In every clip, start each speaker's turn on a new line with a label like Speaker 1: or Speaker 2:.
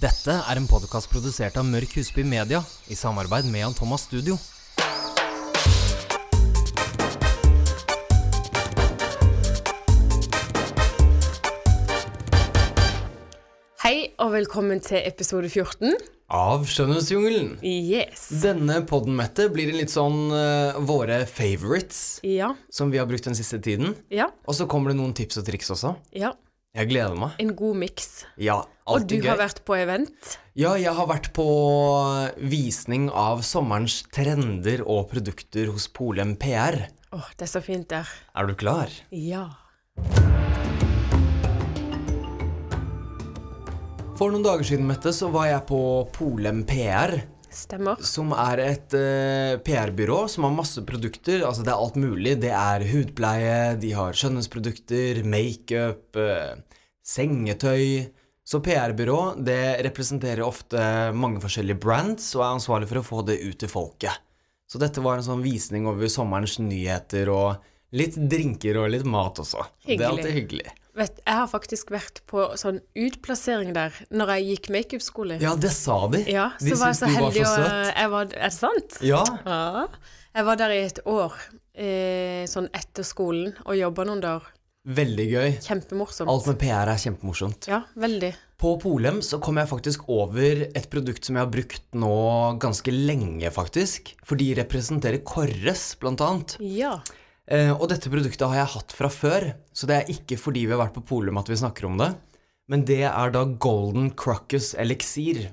Speaker 1: Dette er en podkast produsert av Mørk Husby Media i samarbeid med Jan Thomas Studio.
Speaker 2: Hei og velkommen til episode 14.
Speaker 1: Av Skjønnhetsjungelen.
Speaker 2: Yes.
Speaker 1: Denne podden, Mette, blir en litt sånn eh, våre favorites
Speaker 2: Ja,
Speaker 1: som vi har brukt den siste tiden.
Speaker 2: ja,
Speaker 1: Og så kommer det noen tips og triks også.
Speaker 2: ja.
Speaker 1: Jeg gleder meg.
Speaker 2: En god miks.
Speaker 1: Ja,
Speaker 2: Og du
Speaker 1: alltid gøy.
Speaker 2: har vært på event.
Speaker 1: Ja, jeg har vært på eh, visning av sommerens trender og produkter hos Polem PR.
Speaker 2: Åh, det er så fint der.
Speaker 1: Er du klar?
Speaker 2: Ja.
Speaker 1: For noen dager siden, Mette, så var jeg på Polem PR.
Speaker 2: Stemmer.
Speaker 1: som er et eh, PR-byrå som har masse produkter. Altså Det er alt mulig. Det er hudpleie, de har skjønnhetsprodukter, makeup, eh, sengetøy. Så PR-byrå det representerer ofte mange forskjellige brands og er ansvarlig for å få det ut til folket. Så dette var en sånn visning over sommerens nyheter og litt drinker og litt mat også. Det er
Speaker 2: Hyggelig.
Speaker 1: alltid hyggelig.
Speaker 2: Vet, jeg har faktisk vært på sånn utplassering der når jeg gikk makeupskole.
Speaker 1: Ja, det sa de.
Speaker 2: ja,
Speaker 1: de
Speaker 2: så var jeg
Speaker 1: syntes
Speaker 2: så
Speaker 1: du
Speaker 2: heldig
Speaker 1: var
Speaker 2: og
Speaker 1: for søt.
Speaker 2: jeg var, Er det sant?
Speaker 1: Ja,
Speaker 2: Ja. Jeg var der i et år, eh, sånn etter skolen, og jobba noen dager.
Speaker 1: veldig gøy.
Speaker 2: Kjempemorsomt.
Speaker 1: Alt med PR er kjempemorsomt.
Speaker 2: Ja, veldig.
Speaker 1: På Polem så kom jeg faktisk over et produkt som jeg har brukt nå ganske lenge, faktisk. For de representerer Korres, blant annet.
Speaker 2: Ja.
Speaker 1: Eh, og dette produktet har jeg hatt fra før, så det er ikke fordi vi har vært på Polem at vi snakker om det. Men det er da Golden Crocus Elixir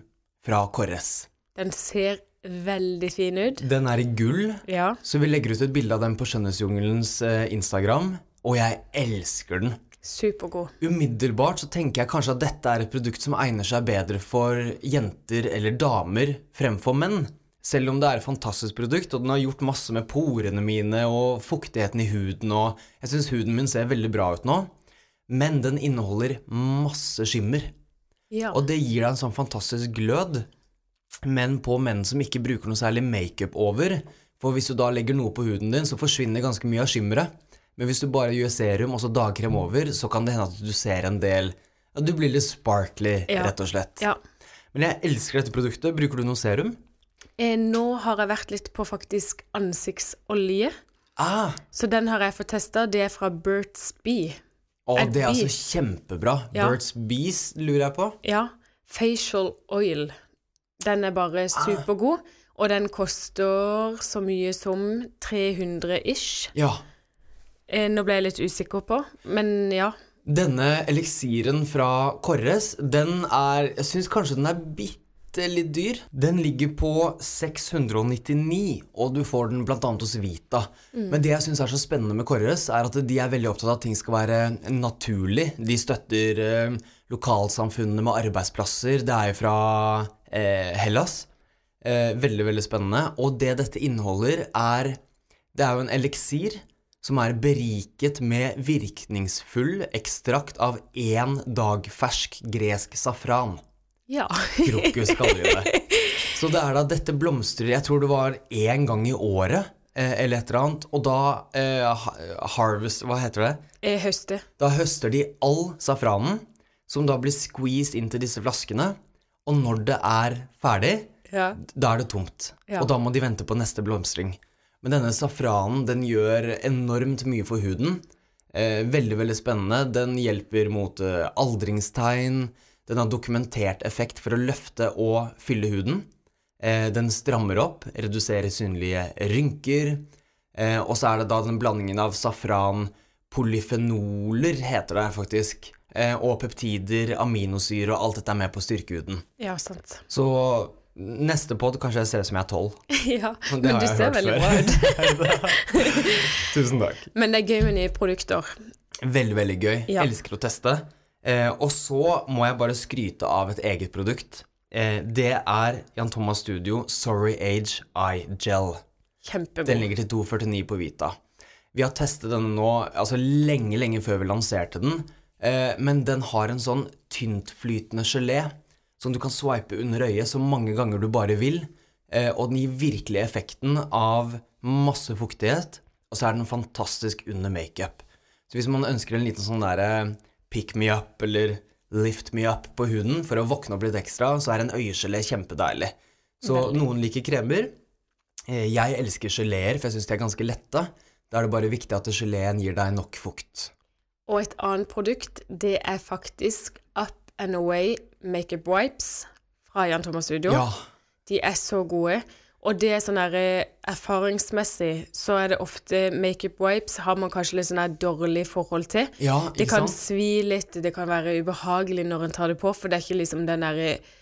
Speaker 1: fra Korres.
Speaker 2: Den ser veldig fin ut.
Speaker 1: Den er i gull,
Speaker 2: Ja.
Speaker 1: så vi legger ut et bilde av den på Skjønnhetsjungelens eh, Instagram. Og jeg elsker den.
Speaker 2: Supergod.
Speaker 1: Umiddelbart så tenker jeg kanskje at dette er et produkt som egner seg bedre for jenter eller damer fremfor menn. Selv om det er et fantastisk produkt, og den har gjort masse med porene mine og fuktigheten i huden, og jeg syns huden min ser veldig bra ut nå. Men den inneholder masse skimmer,
Speaker 2: Ja.
Speaker 1: og det gir deg en sånn fantastisk glød. Men på menn som ikke bruker noe særlig makeup over, for hvis du da legger noe på huden din, så forsvinner ganske mye av skimmeret. Men hvis du bare gjør serum og så dagkrem over, så kan det hende at du ser en del ja, Du blir litt sparkly,
Speaker 2: Ja.
Speaker 1: rett og slett.
Speaker 2: ja.
Speaker 1: Men jeg elsker dette produktet. Bruker du noe serum?
Speaker 2: Eh, nå har jeg vært litt på faktisk ansiktsolje.
Speaker 1: Ah,
Speaker 2: Så den har jeg fått testa. Det er fra Burt's Bee.
Speaker 1: å,
Speaker 2: Er
Speaker 1: det er altså
Speaker 2: det-
Speaker 1: kjempebra.
Speaker 2: Ja.
Speaker 1: Burt's Bees lurer jeg på.
Speaker 2: Ja. Facial oil. Den er bare supergod. Og den koster så mye som 300 ish.
Speaker 1: Ja.
Speaker 2: Eh, nå ble jeg litt usikker på, men ja.
Speaker 1: Denne eliksiren fra Korres, den er Jeg syns kanskje den er bitte litt dyr. Den ligger på 699, og du får den bl.a. hos Vita. Men det jeg syns er så spennende med Korres, er at de er veldig opptatt av at ting skal være naturlig. De støtter eh, lokalsamfunnene med arbeidsplasser. Det er jo fra eh, Hellas. Eh, veldig, veldig spennende. Og det dette inneholder, er det er jo en eliksir som er beriket med virkningsfull ekstrakt av én dag fersk gresk safran.
Speaker 2: Ja.
Speaker 1: Krokus kaller vi det. Så det er da dette blomstrer Jeg tror det var én gang i året eh, eller et eller annet. Og da eh, ha- harvest Hva heter det?
Speaker 2: Eh, høste.
Speaker 1: Da høster de all safranen, som da blir squeezed inn til disse flaskene. Og når det er ferdig,
Speaker 2: Ja.
Speaker 1: da er det tomt,
Speaker 2: Ja.
Speaker 1: og da må de vente på neste blomstring. Men denne safranen den gjør enormt mye for huden. Eh, veldig, veldig spennende. Den hjelper mot eh, aldringstegn. Den har dokumentert effekt for å løfte og fylle huden. Eh, den strammer opp, reduserer synlige rynker. Eh, og så er det da den blandingen av safran, polyfenoler heter det faktisk, eh, og peptider, aminosyre og alt dette er med på å styrke huden.
Speaker 2: Ja, sant.
Speaker 1: Så neste pod kanskje jeg ser ut som jeg er tolv.
Speaker 2: ja. Men du ser veldig bra ut.
Speaker 1: Tusen takk.
Speaker 2: Men det er gøy med nye produkter.
Speaker 1: Veldig, veldig gøy.
Speaker 2: Ja.
Speaker 1: Elsker å teste. Eh, og så må jeg bare skryte av et eget produkt. Eh, det er Jan Thomas Studio Sorry Age Eye Gel. Den
Speaker 2: Kjempegod.
Speaker 1: ligger til 2,49 på Vita. Vi har testet denne nå altså lenge, lenge før vi lanserte den, eh, men den har en sånn tyntflytende gelé som du kan swipe under øyet så mange ganger du bare vil, eh, og den gir virkelig effekten av masse fuktighet, og så er den fantastisk under makeup. Så hvis man ønsker en liten sånn der eh, pick me up eller Lift Me Up på huden for å våkne opp litt ekstra, så er en øyegelé kjempedeilig. Så noen liker kremer. Eh, Jeg elsker geleer, for jeg syns de er ganske lette. Da er det bare viktig at geleen gir deg nok fukt.
Speaker 2: Og et annet produkt, det er faktisk Up and Away Makeup Wipes fra Jan Thomas Studio.
Speaker 1: Ja.
Speaker 2: De er så gode. Og det er sånn der, eh, erfaringsmessig så er det ofte makeup wipes har man kanskje litt sånn der dårlig forhold til.
Speaker 1: Ja,
Speaker 2: Det
Speaker 1: ikke
Speaker 2: kan
Speaker 1: sant?
Speaker 2: svi litt, det kan være ubehagelig når en tar det på, for det er ikke liksom den der eh,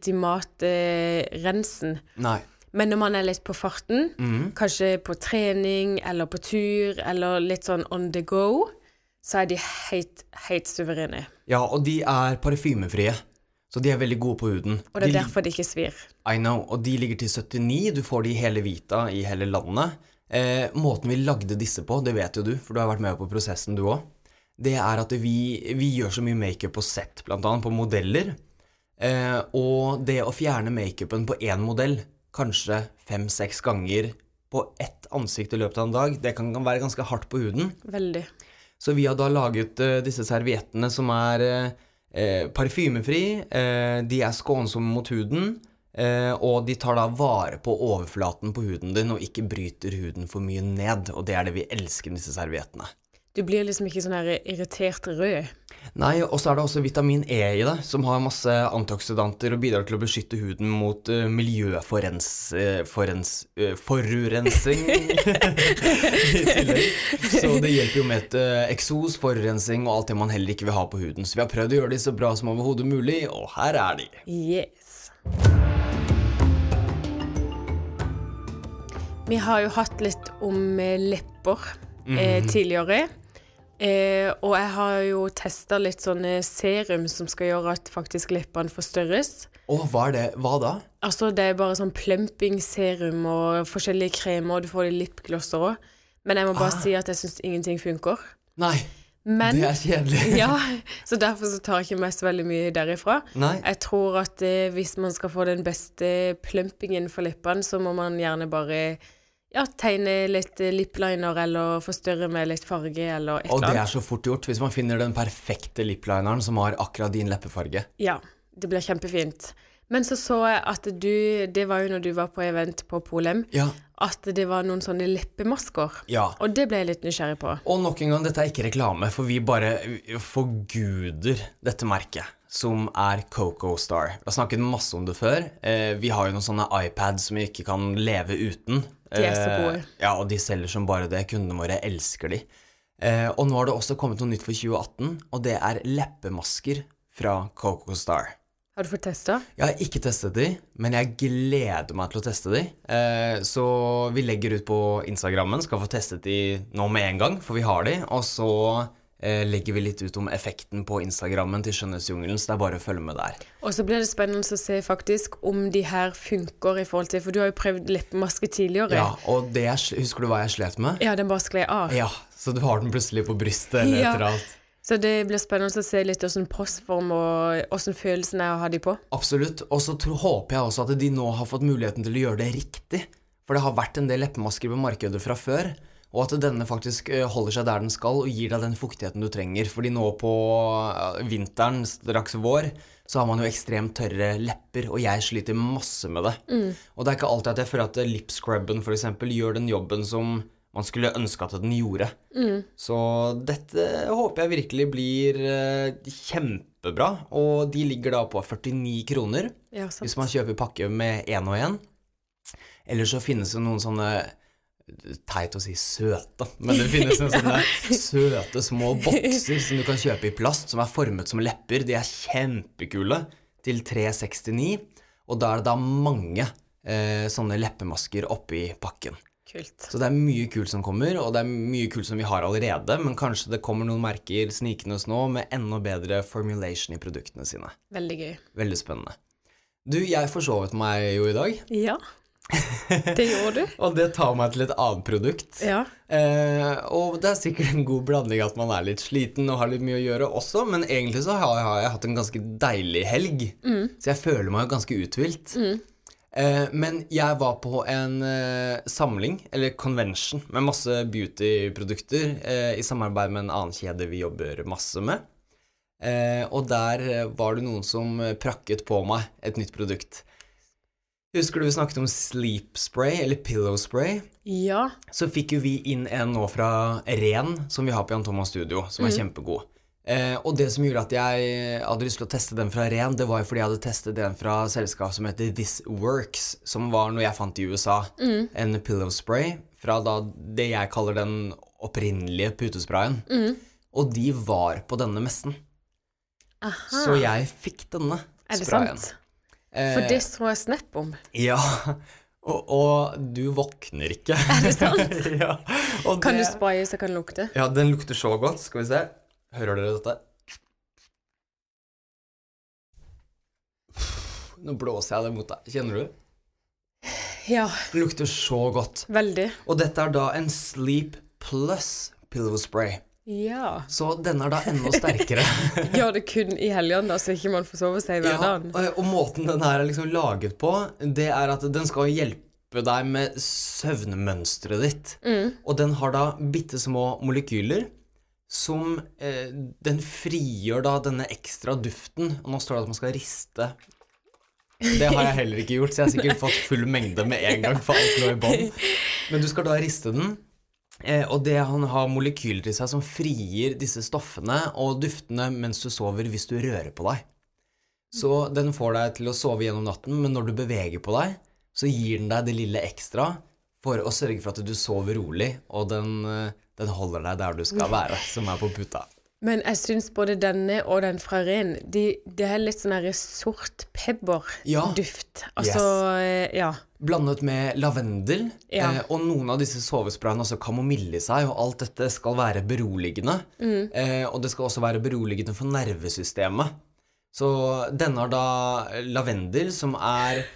Speaker 2: ultimate eh, rensen.
Speaker 1: Nei.
Speaker 2: Men når man er litt på farten, kanskje på trening eller på tur eller litt sånn on the go, så er de helt, helt suverene.
Speaker 1: Ja, og de er parfymefrie, så de er veldig gode på huden.
Speaker 2: Og det er
Speaker 1: de,
Speaker 2: derfor de ikke svir.
Speaker 1: I know, og de ligger til 79. Du får de i hele Vita i hele landet. Eh, måten vi lagde disse på, det vet jo du, for du har vært med på prosessen du òg, det er at vi, vi gjør så mye makeup på sett, blant annet på modeller. Eh, og det å fjerne makeupen på én modell, kanskje fem-seks ganger på ett ansikt i løpet av en dag, det kan være ganske hardt på huden.
Speaker 2: Veldig.
Speaker 1: Så vi har da laget eh, disse serviettene som er eh, eh, parfymefri, eh, de er skånsomme mot huden, eh, og de tar da vare på overflaten på huden din og ikke bryter huden for mye ned, og det er det vi elsker med disse serviettene.
Speaker 2: Du blir liksom ikke sånn her irritert rød.
Speaker 1: Nei, og så er det også vitamin E i det, som har masse antioksidanter og bidrar til å beskytte huden mot eh, uh, miljøforurensing i tillegg. Så det hjelper jo med et eh, eksos, forurensning og alt det man heller ikke vil ha på huden. Så vi har prøvd å gjøre de så bra som overhodet mulig, og her er de.
Speaker 2: Yes. Vi har jo hatt litt om eh, lepper eh, tidligere. Eh, og jeg har jo testa litt sånne serum som skal gjøre at faktisk leppene forstørres.
Speaker 1: Å, hva er det? Hva da?
Speaker 2: Altså, det er bare sånn plumping-serum og forskjellige kremer, og du får det i lipglosser òg. Men jeg må
Speaker 1: Ah.
Speaker 2: bare si at jeg syns ingenting funker.
Speaker 1: Nei,
Speaker 2: Men
Speaker 1: det er kjedelig.
Speaker 2: ja, så derfor så tar jeg ikke med så veldig mye derifra.
Speaker 1: Nei.
Speaker 2: Jeg tror at eh, hvis man skal få den beste plumpingen for leppene, så må man gjerne bare ja, tegne litt eh, lipliner eller forstørre med litt farge eller et
Speaker 1: Og
Speaker 2: eller
Speaker 1: det
Speaker 2: annet.
Speaker 1: er så fort gjort hvis man finner den perfekte liplineren som har akkurat din leppefarge.
Speaker 2: Ja, det blir kjempefint. Men så så jeg at du, det var jo når du var på event på Polem,
Speaker 1: Ja.
Speaker 2: at det var noen sånne leppemasker.
Speaker 1: Ja.
Speaker 2: Og det ble jeg litt nysgjerrig på.
Speaker 1: Og nok en gang, dette er ikke reklame, for vi bare forguder dette merket, som er Coco Star. Vi har snakket masse om det før. Eh, vi har jo noen sånne iPads som vi ikke kan leve uten.
Speaker 2: De er så gode.
Speaker 1: Eh, ja, og de selger som bare det. Kundene våre elsker de. Eh, og nå har det også kommet noe nytt for 2018, og det er leppemasker fra Coco Star.
Speaker 2: Har du fått testa?
Speaker 1: Jeg har ikke testet de, men jeg gleder meg til å teste de. Eh, så vi legger ut på Instagrammen, skal få testet de nå med en gang, for vi har de. Og så eh, legger vi litt ut om effekten på Instagrammen til Skjønnhetsjungelen, så det er bare å følge med der.
Speaker 2: Og så blir det spennende å se faktisk om de her funker i forhold til For du har jo prøvd leppemaske tidligere.
Speaker 1: Ja, Og det jeg, sl- husker du hva jeg slet med?
Speaker 2: Ja, den bare skled av.
Speaker 1: Ja, så du har den plutselig på brystet eller et
Speaker 2: Ja.
Speaker 1: eller annet.
Speaker 2: Så det blir spennende å se litt hvordan postform og hvordan følelsen er å ha de på.
Speaker 1: Absolutt. Og så tro- håper jeg også at de nå har fått muligheten til å gjøre det riktig. For det har vært en del leppemasker på markedet fra før. Og at denne faktisk eh, holder seg der den skal og gir deg den fuktigheten du trenger. Fordi nå på eh, vinteren, straks vår, så har man jo ekstremt tørre lepper, og jeg sliter masse med det. Og det er ikke alltid at jeg føler at eh, lipscrubben for eksempel gjør den jobben som man skulle ønske at den gjorde.
Speaker 2: Mm.
Speaker 1: Så dette håper jeg virkelig blir eh, kjempebra. Og de ligger da på 49 kroner
Speaker 2: Ja, sant.
Speaker 1: hvis man kjøper pakke med én og én. Eller så finnes det noen sånne eh, Teit å si søte, men det finnes noen sånne søte små bokser som du kan kjøpe i plast, som er formet som lepper. De er kjempekule, til 369. Og da er det da mange eh, sånne leppemasker oppi pakken.
Speaker 2: Kult.
Speaker 1: Så det er mye kult som kommer, og det er mye kult som vi har allerede, men kanskje det kommer noen merker snikende nå med enda bedre formulation i produktene sine.
Speaker 2: Veldig gøy.
Speaker 1: Veldig spennende. Du, jeg forsovet meg jo i dag,
Speaker 2: Ja. Det gjorde du.
Speaker 1: og det tar meg til et annet produkt.
Speaker 2: Ja.
Speaker 1: Eh, og det er sikkert en god blanding at man er litt sliten og har litt mye å gjøre også, men egentlig så har, har jeg hatt en ganske deilig helg, så jeg føler meg jo ganske uthvilt. Eh, men jeg var på en eh, samling, eller convention, med masse beautyprodukter eh, i samarbeid med en annen kjede vi jobber masse med. Eh, og der eh, var det noen som eh, prakket på meg et nytt produkt. Husker du vi snakket om sleep spray, eller pillow spray?
Speaker 2: Ja.
Speaker 1: Så fikk jo vi inn en nå fra Ren, som vi har på Jan Thomas Studio, som er
Speaker 2: Mm.
Speaker 1: kjempegod. Eh, og det som gjorde at jeg hadde lyst til å teste den fra Ren, det var jo fordi jeg hadde testet den fra et selskap som heter This Works, som var noe jeg fant i USA.
Speaker 2: Mm.
Speaker 1: En pillow spray fra da det jeg kaller den opprinnelige putesprayen.
Speaker 2: Mm.
Speaker 1: Og de var på denne messen,
Speaker 2: Aha.
Speaker 1: så jeg fikk denne
Speaker 2: er det
Speaker 1: sprayen. Eh,
Speaker 2: sant? For det så jeg snap om.
Speaker 1: Ja, og, og du våkner ikke. Er det sant? ja. og
Speaker 2: Kan du
Speaker 1: det-
Speaker 2: spraye så kan det lukte?
Speaker 1: Ja, den lukter så godt. Skal vi se. Hører dere dette? Nå blåser jeg det mot deg. Kjenner du?
Speaker 2: Ja,
Speaker 1: Den lukter så godt.
Speaker 2: veldig.
Speaker 1: Og dette er da en Sleep Plus pillow spray.
Speaker 2: Ja.
Speaker 1: Så denne er da enda sterkere.
Speaker 2: Gjør det kun i helgene, da, så ikke man forsover seg i
Speaker 1: Ja,
Speaker 2: hverdagen.
Speaker 1: og, og måten den her er liksom laget på, det er at den skal hjelpe deg med søvnmønsteret ditt.
Speaker 2: Mm.
Speaker 1: Og den har da bitte små molekyler som eh, Den frigjør da denne ekstra duften. Og nå står det at man skal riste. Det har jeg heller ikke gjort, så jeg har sikkert fått full mengde med en gang. for alt lå i bånn. Men du skal da riste den. Eh, og det han har molekyler i seg som frigir disse stoffene og duftene mens du sover, hvis du rører på deg. Så den får deg til å sove gjennom natten, men når du beveger på deg, så gir den deg det lille ekstra for å sørge for at du sover rolig, og den, eh, den holder deg der du skal være, som er på puta.
Speaker 2: Men jeg syns både denne og den fra Ren, de, det er litt sånn her sort
Speaker 1: Ja.
Speaker 2: pepperduft. Altså, eh, ja.
Speaker 1: Blandet med lavendel,
Speaker 2: Ja.
Speaker 1: eh, og noen av disse sovesprayene har også kamomille i seg, og alt dette skal være beroligende. Eh, og det skal også være beroligende for nervesystemet. Så denne har da lavendel, som er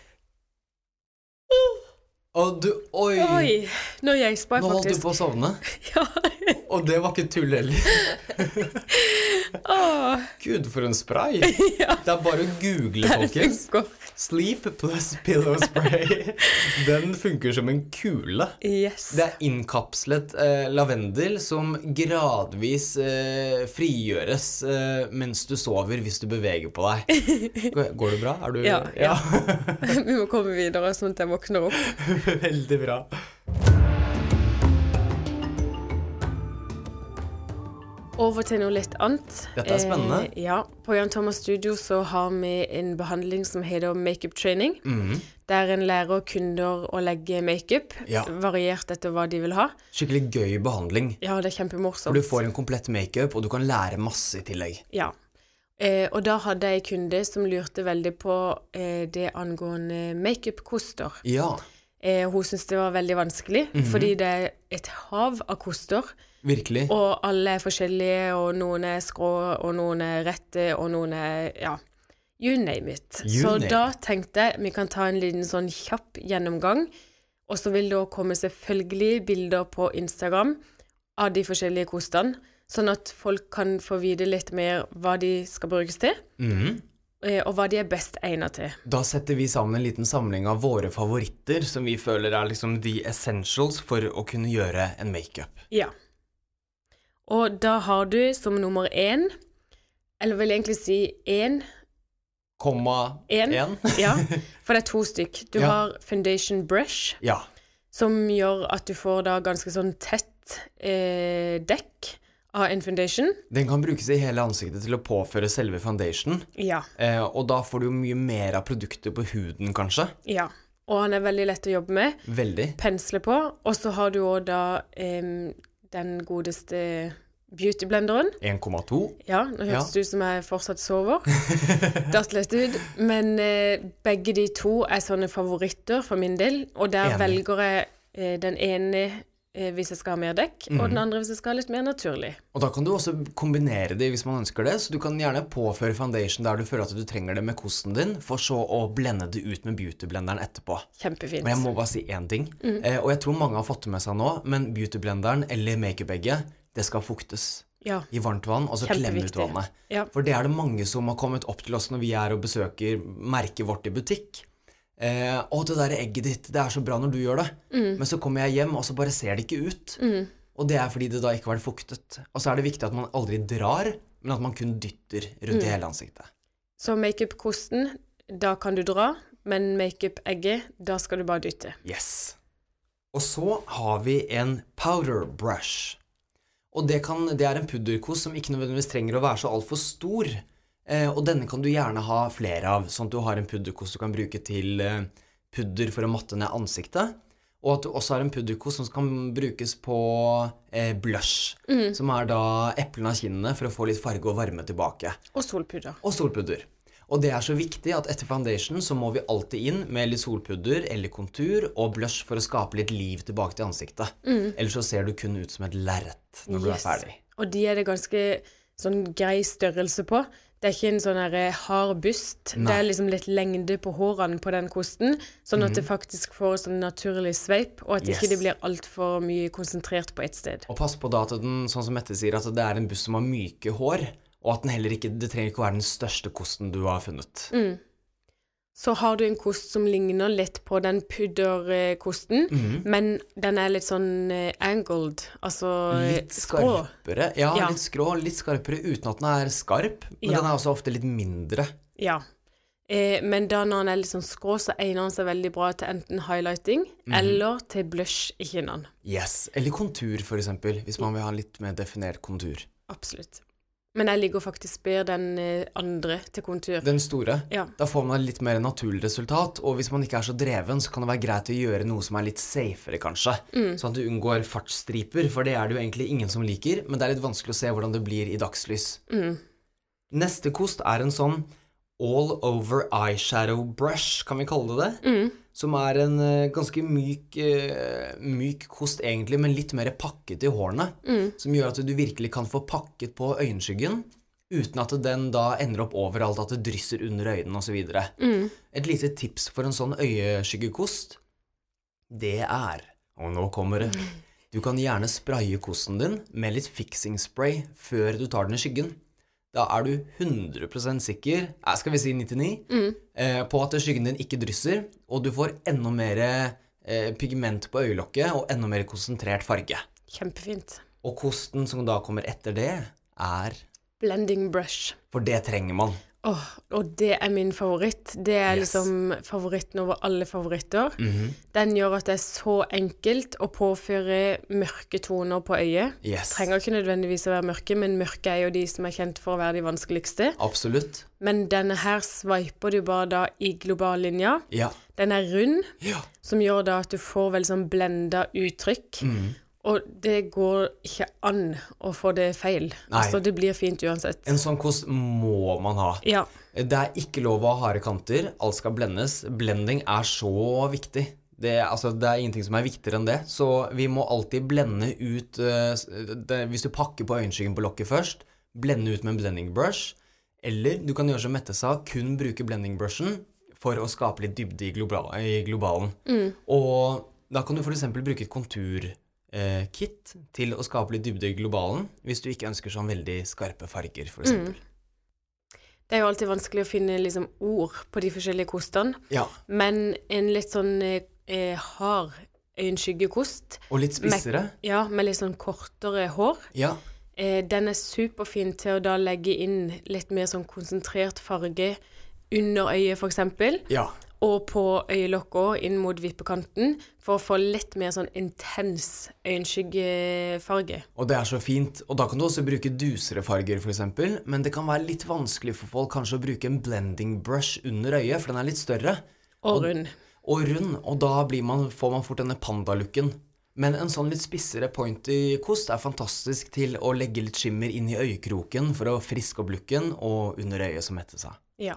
Speaker 1: Og du Oi!
Speaker 2: Oi! Nå jeg spray,
Speaker 1: Nå holdt du
Speaker 2: faktisk.
Speaker 1: på å sovne.
Speaker 2: Ja.
Speaker 1: Og det var ikke tull heller.
Speaker 2: Åh,
Speaker 1: Gud, for en spray!
Speaker 2: ja.
Speaker 1: Det er bare å google,
Speaker 2: Det
Speaker 1: folkens.
Speaker 2: funker.
Speaker 1: Sleep plus pillow spray. Den funker som en kule.
Speaker 2: Yes.
Speaker 1: Det er innkapslet eh, lavendel som gradvis eh, frigjøres eh, mens du sover, hvis du beveger på deg. Går- Går det bra? Er du
Speaker 2: Ja, ja. Vi må komme videre, sånn at jeg våkner opp.
Speaker 1: Veldig bra.
Speaker 2: Over til noe litt annet.
Speaker 1: Dette er spennende.
Speaker 2: Eh, ja. På Jan Thomas Studio så har vi en behandling som heter makeup training.
Speaker 1: Mm.
Speaker 2: Der en lærer kunder å legge makeup,
Speaker 1: Ja.
Speaker 2: variert etter hva de vil ha.
Speaker 1: Skikkelig gøy behandling.
Speaker 2: Ja, det er kjempemorsomt.
Speaker 1: For du får en komplett makeup, og du kan lære masse i tillegg.
Speaker 2: Ja. Eh, og da hadde jeg en kunde som lurte veldig på eh, det angående makeup-koster.
Speaker 1: Ja,
Speaker 2: Eh, hun syntes det var veldig vanskelig, fordi det er et hav av koster,
Speaker 1: virkelig.
Speaker 2: og alle er forskjellige, og noen er skrå, og noen er rette, og noen er Ja, you name it.
Speaker 1: You
Speaker 2: så
Speaker 1: name
Speaker 2: da tenkte jeg vi kan ta en liten sånn kjapp gjennomgang, og så vil det også komme selvfølgelig bilder på Instagram av de forskjellige kostene, sånn at folk kan få vite litt mer hva de skal brukes til,
Speaker 1: Mhm.
Speaker 2: eh, og hva de er best egnet til.
Speaker 1: Da setter vi sammen en liten samling av våre favoritter, som vi føler er liksom the essentials for å kunne gjøre en makeup.
Speaker 2: Ja. Og da har du som nummer én, eller vil jeg egentlig si én,
Speaker 1: Komma
Speaker 2: En.
Speaker 1: én?
Speaker 2: ja, for det er to stykk. Du
Speaker 1: Ja.
Speaker 2: har foundation brush,
Speaker 1: Ja.
Speaker 2: som gjør at du får da ganske sånn tett eh, dekk av en foundation.
Speaker 1: Den kan brukes i hele ansiktet til å påføre selve foundation,
Speaker 2: Ja.
Speaker 1: eh, og da får du jo mye mer av produktet på huden, kanskje.
Speaker 2: ja. Og han er veldig lett å jobbe med.
Speaker 1: Veldig.
Speaker 2: Pensle på. Og så har du òg da em, den godeste beautyblenderen.
Speaker 1: 1,2.
Speaker 2: Ja, nå hørtes det ut som jeg fortsatt sover. Datt litt ut. Men eh, begge de to er sånne favoritter for min del, og der
Speaker 1: Enig.
Speaker 2: velger jeg eh, den ene eh, hvis jeg skal ha mer dekk,
Speaker 1: Mhm.
Speaker 2: og den andre hvis jeg skal ha litt mer naturlig.
Speaker 1: Og da kan du også kombinere de hvis man ønsker det, så du kan gjerne påføre foundation der du føler at du trenger det med kosten din, for så å blende det ut med beautyblenderen etterpå.
Speaker 2: Kjempefint.
Speaker 1: Men jeg må bare si én ting, eh, og jeg tror mange har fått det med seg nå, men beautyblenderen eller makeup-egget, det skal fuktes
Speaker 2: Ja.
Speaker 1: i varmt vann, og så klemme ut
Speaker 2: Kjempeviktig.
Speaker 1: vannet.
Speaker 2: ja.
Speaker 1: For det er det mange som har kommet opp til oss når vi er og besøker merket vårt i butikk. Eh, 'Å, det der egget ditt, det er så bra når du gjør det.' Men så kommer jeg hjem, og så bare ser det ikke ut. Og det er fordi det da ikke har vært fuktet. Og så er det viktig at man aldri drar, men at man kun dytter rundt i hele ansiktet.
Speaker 2: Så makeup-kosten, da kan du dra, men makeup-egget, da skal du bare dytte.
Speaker 1: Yes. Og så har vi en powder brush. Og det, kan, det er en pudderkost som ikke nødvendigvis trenger å være så altfor stor. Eh, og denne kan du gjerne ha flere av, sånn at du har en pudderkost du kan bruke til eh, pudder for å matte ned ansiktet. Og at du også har en pudderkost som kan brukes på eh, blush, som er da eplene av kinnene for å få litt farge og varme tilbake
Speaker 2: Og solpudder.
Speaker 1: og solpudder. Og det er så viktig at etter foundation så må vi alltid inn med litt solpudder eller kontur og blush for å skape litt liv tilbake til ansiktet. Ellers så ser du kun ut som et lerret når du er
Speaker 2: Mm. Yes.
Speaker 1: ferdig.
Speaker 2: Og de er det ganske sånn grei størrelse på. Det er ikke en sånn her eh, hard bust. Det er liksom litt lengde på hårene på den kosten, sånn at det faktisk får en sånn naturlig sveip, og at
Speaker 1: Mhm. Yes.
Speaker 2: ikke det blir altfor mye konsentrert på ett sted.
Speaker 1: Og pass på da at den, sånn som Mette sier, at det er en buss som har myke hår, og at den heller ikke, det trenger ikke å være den største kosten du har funnet.
Speaker 2: Mm. Så har du en kost som ligner litt på den pudderkosten,
Speaker 1: Mhm.
Speaker 2: men den er litt sånn eh, angled, altså eh,
Speaker 1: Litt
Speaker 2: skrå.
Speaker 1: skarpere, ja,
Speaker 2: Ja.
Speaker 1: litt skrå, litt skarpere uten at den er skarp, men
Speaker 2: Ja.
Speaker 1: den er også ofte litt mindre.
Speaker 2: Ja. Eh, men da når han er litt sånn skrå, så egner han seg veldig bra til enten highlighting
Speaker 1: Mhm.
Speaker 2: eller til blush i kinnene.
Speaker 1: Yes, eller kontur for eksempel, hvis man vil ha en litt mer definert kontur.
Speaker 2: Absolutt. Men jeg ligger faktisk bedre den eh, andre til kontur.
Speaker 1: Den store?
Speaker 2: Ja.
Speaker 1: Da får man et litt mer naturlig resultat, og hvis man ikke er så dreven, så kan det være greit å gjøre noe som er litt safere, kanskje. Sånn at du unngår fartsstriper, for det er det jo egentlig ingen som liker, men det er litt vanskelig å se hvordan det blir i dagslys.
Speaker 2: Mm.
Speaker 1: Neste kost er en sånn all over eyeshadow brush, kan vi kalle det det?
Speaker 2: Mm.
Speaker 1: Som er en eh, ganske myk, eh, myk kost egentlig, men litt mer pakket i hårene. Som gjør at du virkelig kan få pakket på øyenskyggen, uten at den da ender opp overalt, at det drysser under øynene osv. Mm. Et lite tips for en sånn øyeskyggekost, det er Og nå kommer det. Du kan gjerne spraye kosten din med litt fixing spray før du tar den i skyggen. Da er du 100 sikker, eh, skal vi si 99, eh, på at skyggen din ikke drysser, og du får enda mer eh, pigment på øyelokket og enda mer konsentrert farge.
Speaker 2: Kjempefint.
Speaker 1: Og kosten som da kommer etter det, er
Speaker 2: Blending brush.
Speaker 1: For det trenger man.
Speaker 2: Åh, og det er min favoritt. Det er
Speaker 1: Yes.
Speaker 2: liksom favoritten over alle favoritter. Den gjør at det er så enkelt å påføre mørke toner på øyet.
Speaker 1: Yes.
Speaker 2: Trenger ikke nødvendigvis å være mørke, men mørke er jo de som er kjent for å være de vanskeligste.
Speaker 1: Absolutt.
Speaker 2: Men denne her sveiper du bare da i globallinja.
Speaker 1: Ja.
Speaker 2: Den er rund,
Speaker 1: ja.
Speaker 2: som gjør da at du får veldig sånn blenda uttrykk.
Speaker 1: Mm.
Speaker 2: Og det går ikke an å få det feil.
Speaker 1: Nei.
Speaker 2: Altså, det blir fint uansett.
Speaker 1: En sånn kost må man ha.
Speaker 2: Ja.
Speaker 1: Det er ikke lov å ha harde kanter. Alt skal blendes. Blending er så viktig. Det, altså, det er ingenting som er viktigere enn det. Så vi må alltid blende ut eh, s- det, Hvis du pakker på øyenskyggen på lokket først, blende ut med en blending brush. Eller du kan gjøre som Mette sa, kun bruke blending brushen for å skape litt dybde i, global, i globalen. Og da kan du f.eks. bruke et konturkit eh, kit til å skape litt dybde i globalen, hvis du ikke ønsker sånn veldig skarpe farger, f.eks. eksempel.
Speaker 2: Det er jo alltid vanskelig å finne liksom, ord på de forskjellige kostene,
Speaker 1: Ja.
Speaker 2: men en litt sånn eh, eh, hard øyenskyggekost,
Speaker 1: Og litt spissere.
Speaker 2: ja, med litt sånn kortere hår,
Speaker 1: Ja.
Speaker 2: eh, den er superfin til å da legge inn litt mer sånn konsentrert farge under øyet, for eksempel.
Speaker 1: Ja.
Speaker 2: og på øyelokket inn mot vippekanten for å få litt mer sånn intens øyenskyggefarge.
Speaker 1: Og det er så fint. Og da kan du også bruke dusere farger, f.eks. Men det kan være litt vanskelig for folk kanskje å bruke en blending brush under øyet, for den er litt større
Speaker 2: Og rund.
Speaker 1: og rund, og da blir man, får man fort denne pandalooken. Men en sånn litt spissere pointy kost er fantastisk til å legge litt skimmer inn i øyekroken for å friske opp looken, og under øyet, som hette seg.
Speaker 2: Ja.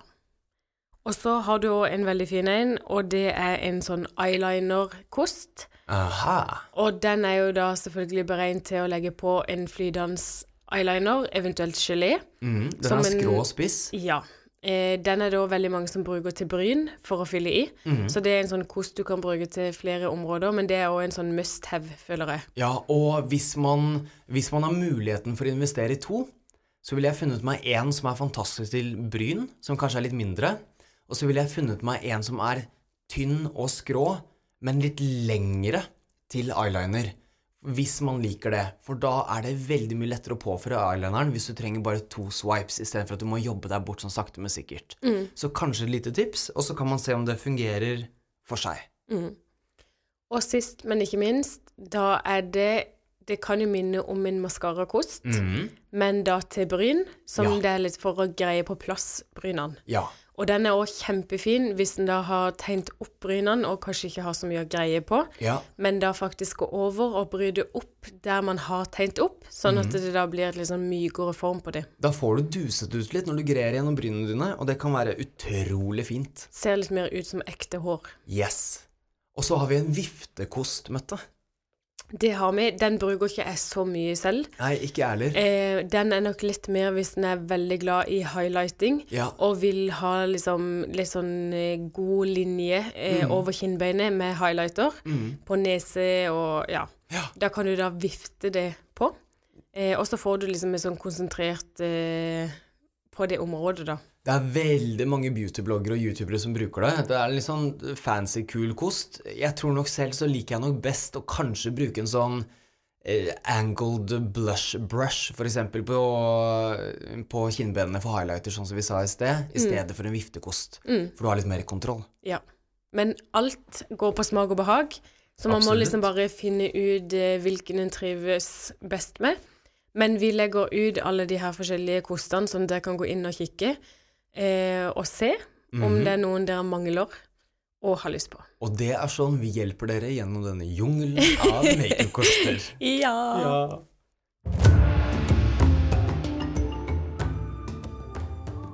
Speaker 2: Og så har du også en veldig fin en, og det er en sånn eyeliner-kost.
Speaker 1: Aha.
Speaker 2: Og den er jo da selvfølgelig beregnet til å legge på en flydans eyeliner, eventuelt gelé.
Speaker 1: Mm, den
Speaker 2: Som
Speaker 1: er
Speaker 2: en-
Speaker 1: skrå og spiss.
Speaker 2: Ja. Eh, den er da veldig mange som bruker til bryn for å fylle i. Så det er en sånn kost du kan bruke til flere områder, men det er også en sånn must have, føler jeg.
Speaker 1: Ja, og hvis man, hvis man har muligheten for å investere i to, så ville jeg funnet meg en som er fantastisk til bryn, som kanskje er litt mindre, og så ville jeg funnet meg en som er tynn og skrå, men litt lengre til eyeliner. Hvis man liker det. For da er det veldig mye lettere å påføre eyelineren hvis du trenger bare to swipes istedenfor at du må jobbe deg bort sånn sakte, men sikkert. Så kanskje et lite tips, og så kan man se om det fungerer for seg.
Speaker 2: Og sist, men ikke minst, da er det Det kan jo minne om en maskarakost, men da til bryn, som
Speaker 1: Mm. Ja.
Speaker 2: det er litt for å greie på plass brynene.
Speaker 1: Ja.
Speaker 2: Og den er også kjempefin hvis en da har tegnet opp brynene og kanskje ikke har så mye å greie på,
Speaker 1: Ja.
Speaker 2: men da faktisk gå over og bryte opp der man har tegnet opp, sånn at det da blir et litt sånn mykere form på det.
Speaker 1: Da får du duset ut litt når du grer gjennom brynene dine, og det kan være utrolig fint.
Speaker 2: Ser litt mer ut som ekte hår.
Speaker 1: Yes. Og så har vi en viftekost, Mette.
Speaker 2: Det har vi. Den bruker ikke jeg så mye selv.
Speaker 1: Nei, ikke jeg heller.
Speaker 2: Eh, den er nok litt mer hvis en er veldig glad i highlighting.
Speaker 1: Ja.
Speaker 2: Og vil ha liksom litt sånn eh, god linje eh, over kinnbeinet med highlighter på nese og ja.
Speaker 1: Ja.
Speaker 2: Da kan du da vifte det på. Eh, og så får du liksom en sånn konsentrert eh, på det området, da.
Speaker 1: Det er veldig mange beautybloggere og youtubere som bruker det. Det er litt sånn fancy, kul kost. Jeg tror nok selv så liker jeg nok best å kanskje bruke en sånn eh, angled blush brush, for eksempel på, på kinnbenene for highlighter, sånn som vi sa i sted,
Speaker 2: Mm.
Speaker 1: i stedet for en viftekost. For du har litt mer kontroll.
Speaker 2: Ja. Men alt går på smak og behag, så man må
Speaker 1: Absolutt.
Speaker 2: liksom bare finne ut eh, hvilken en trives best med. Men vi legger ut alle de her forskjellige kostene, som dere kan gå inn og kikke eh, og se
Speaker 1: Mhm.
Speaker 2: om det er noen dere mangler og har lyst på.
Speaker 1: Og det er sånn vi hjelper dere gjennom denne jungelen av makeup-koster.
Speaker 2: Ja.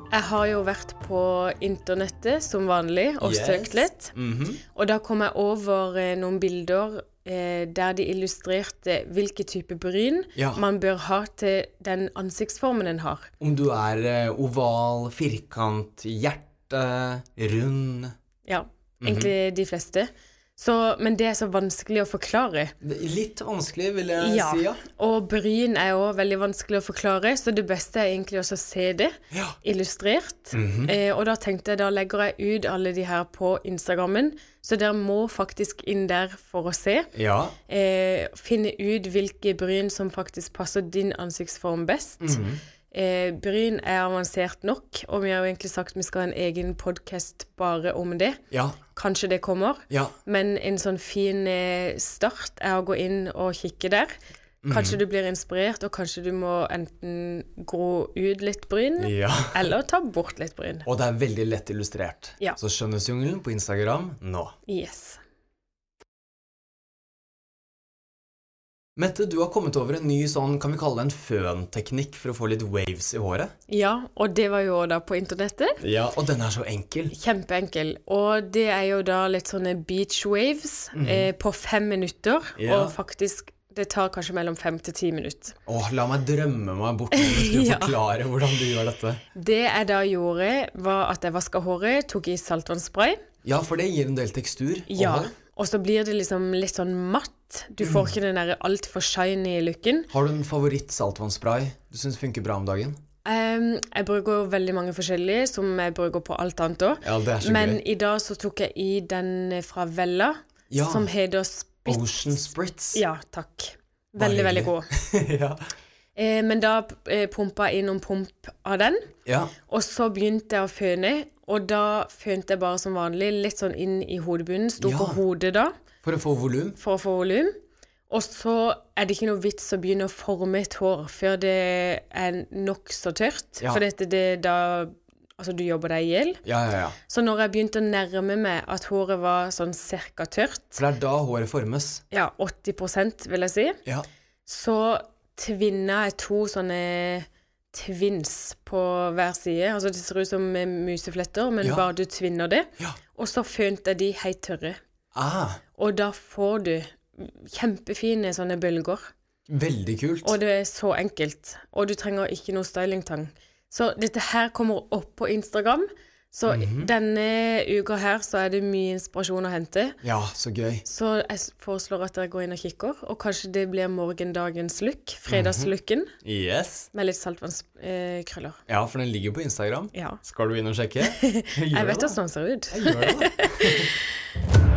Speaker 2: Jeg har jo vært på internettet som vanlig og
Speaker 1: Yes.
Speaker 2: søkt litt.
Speaker 1: Mhm.
Speaker 2: Og da kom jeg over eh, noen bilder eh, der de illustrerte hvilke type bryn
Speaker 1: Ja.
Speaker 2: man bør ha til den ansiktsformen en har.
Speaker 1: Om du er eh, oval, firkant, hjerte, rund
Speaker 2: Ja,
Speaker 1: Mhm.
Speaker 2: egentlig de fleste. Så, men det er så vanskelig å forklare.
Speaker 1: Det er Litt vanskelig, vil jeg si, ja.
Speaker 2: Og bryn er òg veldig vanskelig å forklare, så det beste er egentlig også å se det
Speaker 1: Ja.
Speaker 2: illustrert. eh, og da tenkte jeg da legger jeg ut alle de her på Instagrammen, så dere må faktisk inn der for å se.
Speaker 1: ja.
Speaker 2: eh, finne ut hvilke bryn som faktisk passer din ansiktsform best.
Speaker 1: Mhm.
Speaker 2: eh, bryn er avansert nok, og vi har jo egentlig sagt vi skal ha en egen podkast bare om det.
Speaker 1: Ja.
Speaker 2: Kanskje det kommer.
Speaker 1: Ja.
Speaker 2: Men en sånn fin eh, start er å gå inn og kikke der. Kanskje du blir inspirert, og kanskje du må enten gro ut litt bryn,
Speaker 1: ja.
Speaker 2: eller ta bort litt bryn.
Speaker 1: Og det er veldig lett illustrert.
Speaker 2: Ja.
Speaker 1: Så Skjønnhetsjungelen på Instagram nå.
Speaker 2: Yes.
Speaker 1: Mette, du har kommet over en ny sånn, kan vi kalle det en fønteknikk for å få litt waves i håret?
Speaker 2: Ja, og det var jo da på internettet.
Speaker 1: Ja. Og den er så enkel.
Speaker 2: Kjempeenkel. Og det er jo da litt sånne beach waves eh, på fem minutter.
Speaker 1: Mhm. Ja.
Speaker 2: Og faktisk, det tar kanskje mellom fem til ti minutter.
Speaker 1: Åh, la meg drømme meg bort når du skal
Speaker 2: Ja.
Speaker 1: forklare hvordan du gjør dette.
Speaker 2: Det jeg da gjorde, var at jeg vaska håret, tok i saltvannspray.
Speaker 1: Ja, for det gir en del tekstur. og
Speaker 2: Ja.
Speaker 1: hår.
Speaker 2: Og så blir det liksom litt sånn matt. Du
Speaker 1: Mhm.
Speaker 2: får ikke den derre altfor shiny looken.
Speaker 1: Har du en favoritt saltvannspray du syns funker bra om dagen?
Speaker 2: Ehm, jeg bruker jo veldig mange forskjellige, som jeg bruker på alt annet òg.
Speaker 1: Ja, det er så
Speaker 2: Men
Speaker 1: gøy.
Speaker 2: i dag så tok jeg i den fra Vella,
Speaker 1: Ja.
Speaker 2: som heter Spit.
Speaker 1: Ocean Spritz.
Speaker 2: Ja, takk.
Speaker 1: Bare
Speaker 2: Veldig, veldig
Speaker 1: hyggelig.
Speaker 2: god.
Speaker 1: ja.
Speaker 2: Eh, men da eh, pumpa jeg inn noen pump av den,
Speaker 1: ja.
Speaker 2: og så begynte jeg å føne. Og da fønte jeg bare som vanlig, litt sånn inn i hodebunnen. Sto
Speaker 1: Ja.
Speaker 2: på hodet da,
Speaker 1: For å få volum.
Speaker 2: for å få volum. Og så er det ikke noe vits å begynne å forme et hår før det er nokså tørt.
Speaker 1: Ja.
Speaker 2: For dette det da Altså, du jobber deg i hjel.
Speaker 1: Ja, ja, ja.
Speaker 2: Så når jeg begynte å nærme meg at håret var sånn cirka tørt,
Speaker 1: For det er da håret formes.
Speaker 2: ja, 80 vil jeg si,
Speaker 1: Ja.
Speaker 2: så tvinna jeg to sånne tvins på hver side. Altså det ser ut som eh, musefletter, men
Speaker 1: Ja.
Speaker 2: bare du tvinner det.
Speaker 1: Ja.
Speaker 2: Og så fønte jeg de helt tørre.
Speaker 1: Ah,
Speaker 2: Og da får du kjempefine sånne bølger.
Speaker 1: veldig kult.
Speaker 2: Og det er så enkelt. Og du trenger ikke noe stylingtang. Så dette her kommer opp på Instagram. Så denne uka her så er det mye inspirasjon å hente.
Speaker 1: Ja, så gøy.
Speaker 2: Så jeg s- foreslår at dere går inn og kikker, og kanskje det blir morgendagens look. Fredagslooken.
Speaker 1: Yes.
Speaker 2: Med litt eh, saltvannskrøller.
Speaker 1: Ja, for den ligger på Instagram.
Speaker 2: Ja.
Speaker 1: Skal du inn og sjekke?
Speaker 2: Jeg vet hvordan han ser ut.
Speaker 1: Gjør det, da.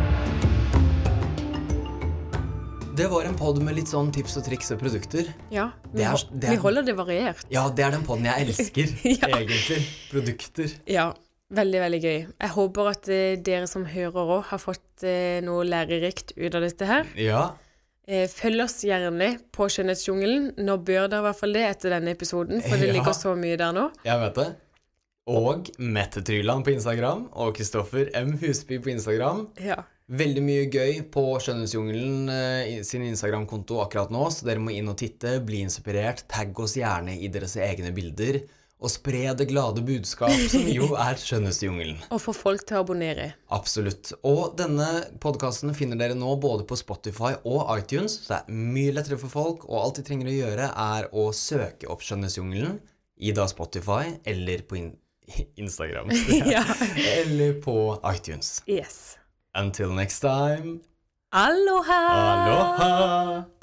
Speaker 1: Det var en pod med litt sånn tips og triks og produkter.
Speaker 2: Ja, vi,
Speaker 1: Det er-
Speaker 2: hol-
Speaker 1: det er-
Speaker 2: vi holder det variert.
Speaker 1: Ja, det er den poden jeg elsker,
Speaker 2: Ja.
Speaker 1: egentlig. Produkter.
Speaker 2: Ja, veldig, veldig gøy. Jeg håper at eh, dere som hører òg, har fått eh, noe lærerikt ut av dette her.
Speaker 1: Ja.
Speaker 2: Eh, følg oss gjerne på Skjønnhetsjungelen. Nå bør dere i hvert fall det etter denne episoden, for det
Speaker 1: Ja.
Speaker 2: ligger så mye der nå.
Speaker 1: Jeg vet det. Og Mette Tryland på Instagram og Kristoffer M. Husby på Instagram.
Speaker 2: Ja.
Speaker 1: Veldig mye gøy på Skjønnhetsjungelen eh, i- sin Instagram-konto akkurat nå, så dere må inn og titte, bli inspirert, tagg oss gjerne i deres egne bilder, og spre det glade budskap, som jo er Skjønnhetsjungelen.
Speaker 2: Og få folk til å abonnere.
Speaker 1: Absolutt. Og denne podkasten finner dere nå både på Spotify og iTunes, så det er mye lettere for folk, og alt de trenger å gjøre, er å søke opp Skjønnhetsjungelen i da Spotify eller på in Instagram.
Speaker 2: ja.
Speaker 1: eller på iTunes.
Speaker 2: Yes.
Speaker 1: Until next time.
Speaker 2: Aloha!
Speaker 1: Aloha!